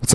What's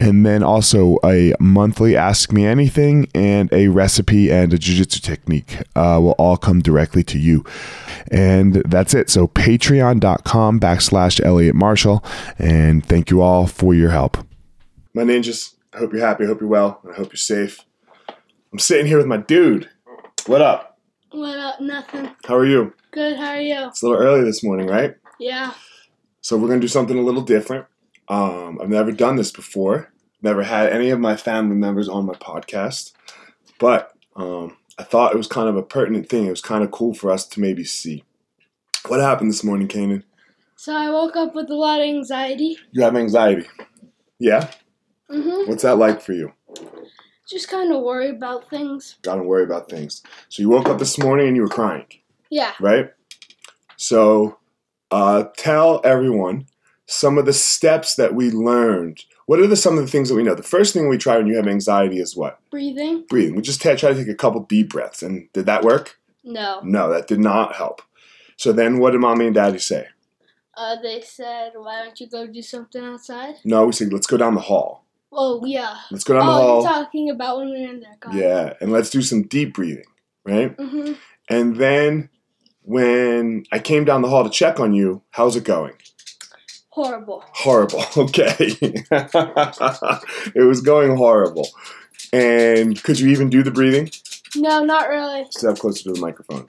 and then also a monthly ask me anything and a recipe and a jiu-jitsu technique uh, will all come directly to you and that's it so patreon.com backslash elliot marshall and thank you all for your help my ninjas i hope you're happy i hope you're well and i hope you're safe i'm sitting here with my dude what up What up? Nothing. how are you Good. How are you? it's a little early this morning right Yeah. So we're gonna do something a little different. Um, I've never done this before. Never had any of my family members on my podcast, but um, I thought it was kind of a pertinent thing. It was kind of cool for us to maybe see what happened this morning, Kanan. So I woke up with a lot of anxiety. You have anxiety, yeah? Mhm. What's that like for you? Just kind of worried about things. Got to worry about things. So you woke up this morning and you were crying, Yeah. right? So uh, tell everyone some of the steps that we learned. What are the, some of the things that we know? The first thing we try when you have anxiety is what? Breathing. breathing. We just t- try to take a couple deep breaths. And did that work? No. No, that did not help. So then what did mommy and daddy say? Uh, they said, why don't you go do something outside? No, we said, let's go down the hall. Oh yeah. Let's go down the Oh, hall. you're talking about when we were in their car. yeah, and let's do some deep breathing, right? Mhm. And then when I came down the hall to check on you, how's it going? Horrible. Horrible. Okay. it was going horrible. And could you even do the breathing? No, not really. Step closer to the microphone.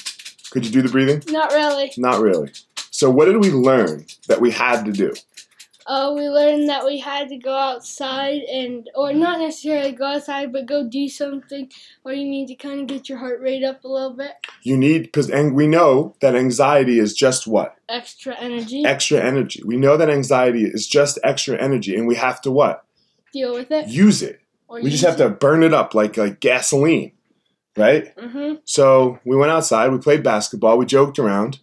Could you do the breathing? Not really. Not really. So what did we learn that we had to do? Uh, we learned that we had to go outside and, or not necessarily go outside, but go do something where you need to kind of get your heart rate up a little bit. You need because and we know that anxiety is just what Extra energy. extra energy. We know that anxiety is just extra energy, and we have to what deal with it. use it. Or We just have to burn it up like like gasoline, right? hmm So we went outside. We played basketball. We joked around.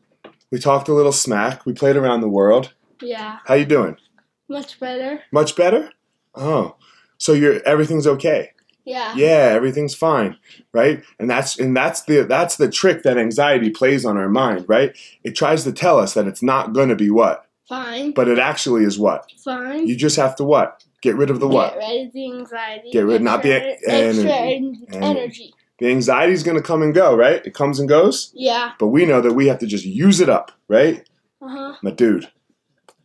We talked a little smack. We played around the world. Yeah, How you doing? much better. Much better? Oh, so you're everything's okay. Yeah. yeah everything's fine right and that's and that's the that's the trick that anxiety plays on our mind right it tries to tell us that it's not going to be what Fine. but it actually is what Fine. you just have to what get rid of the Get what rid of the anxiety. Get rid- not be Extra- en- extra energy. en- energy. the anxiety is going to come and go right it comes and goes Yeah. but we know that we have to just use it up right Uh huh. my dude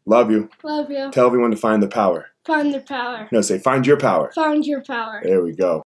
love you Love you. tell everyone to find the power Find the power. no say find your power Find your power. there we go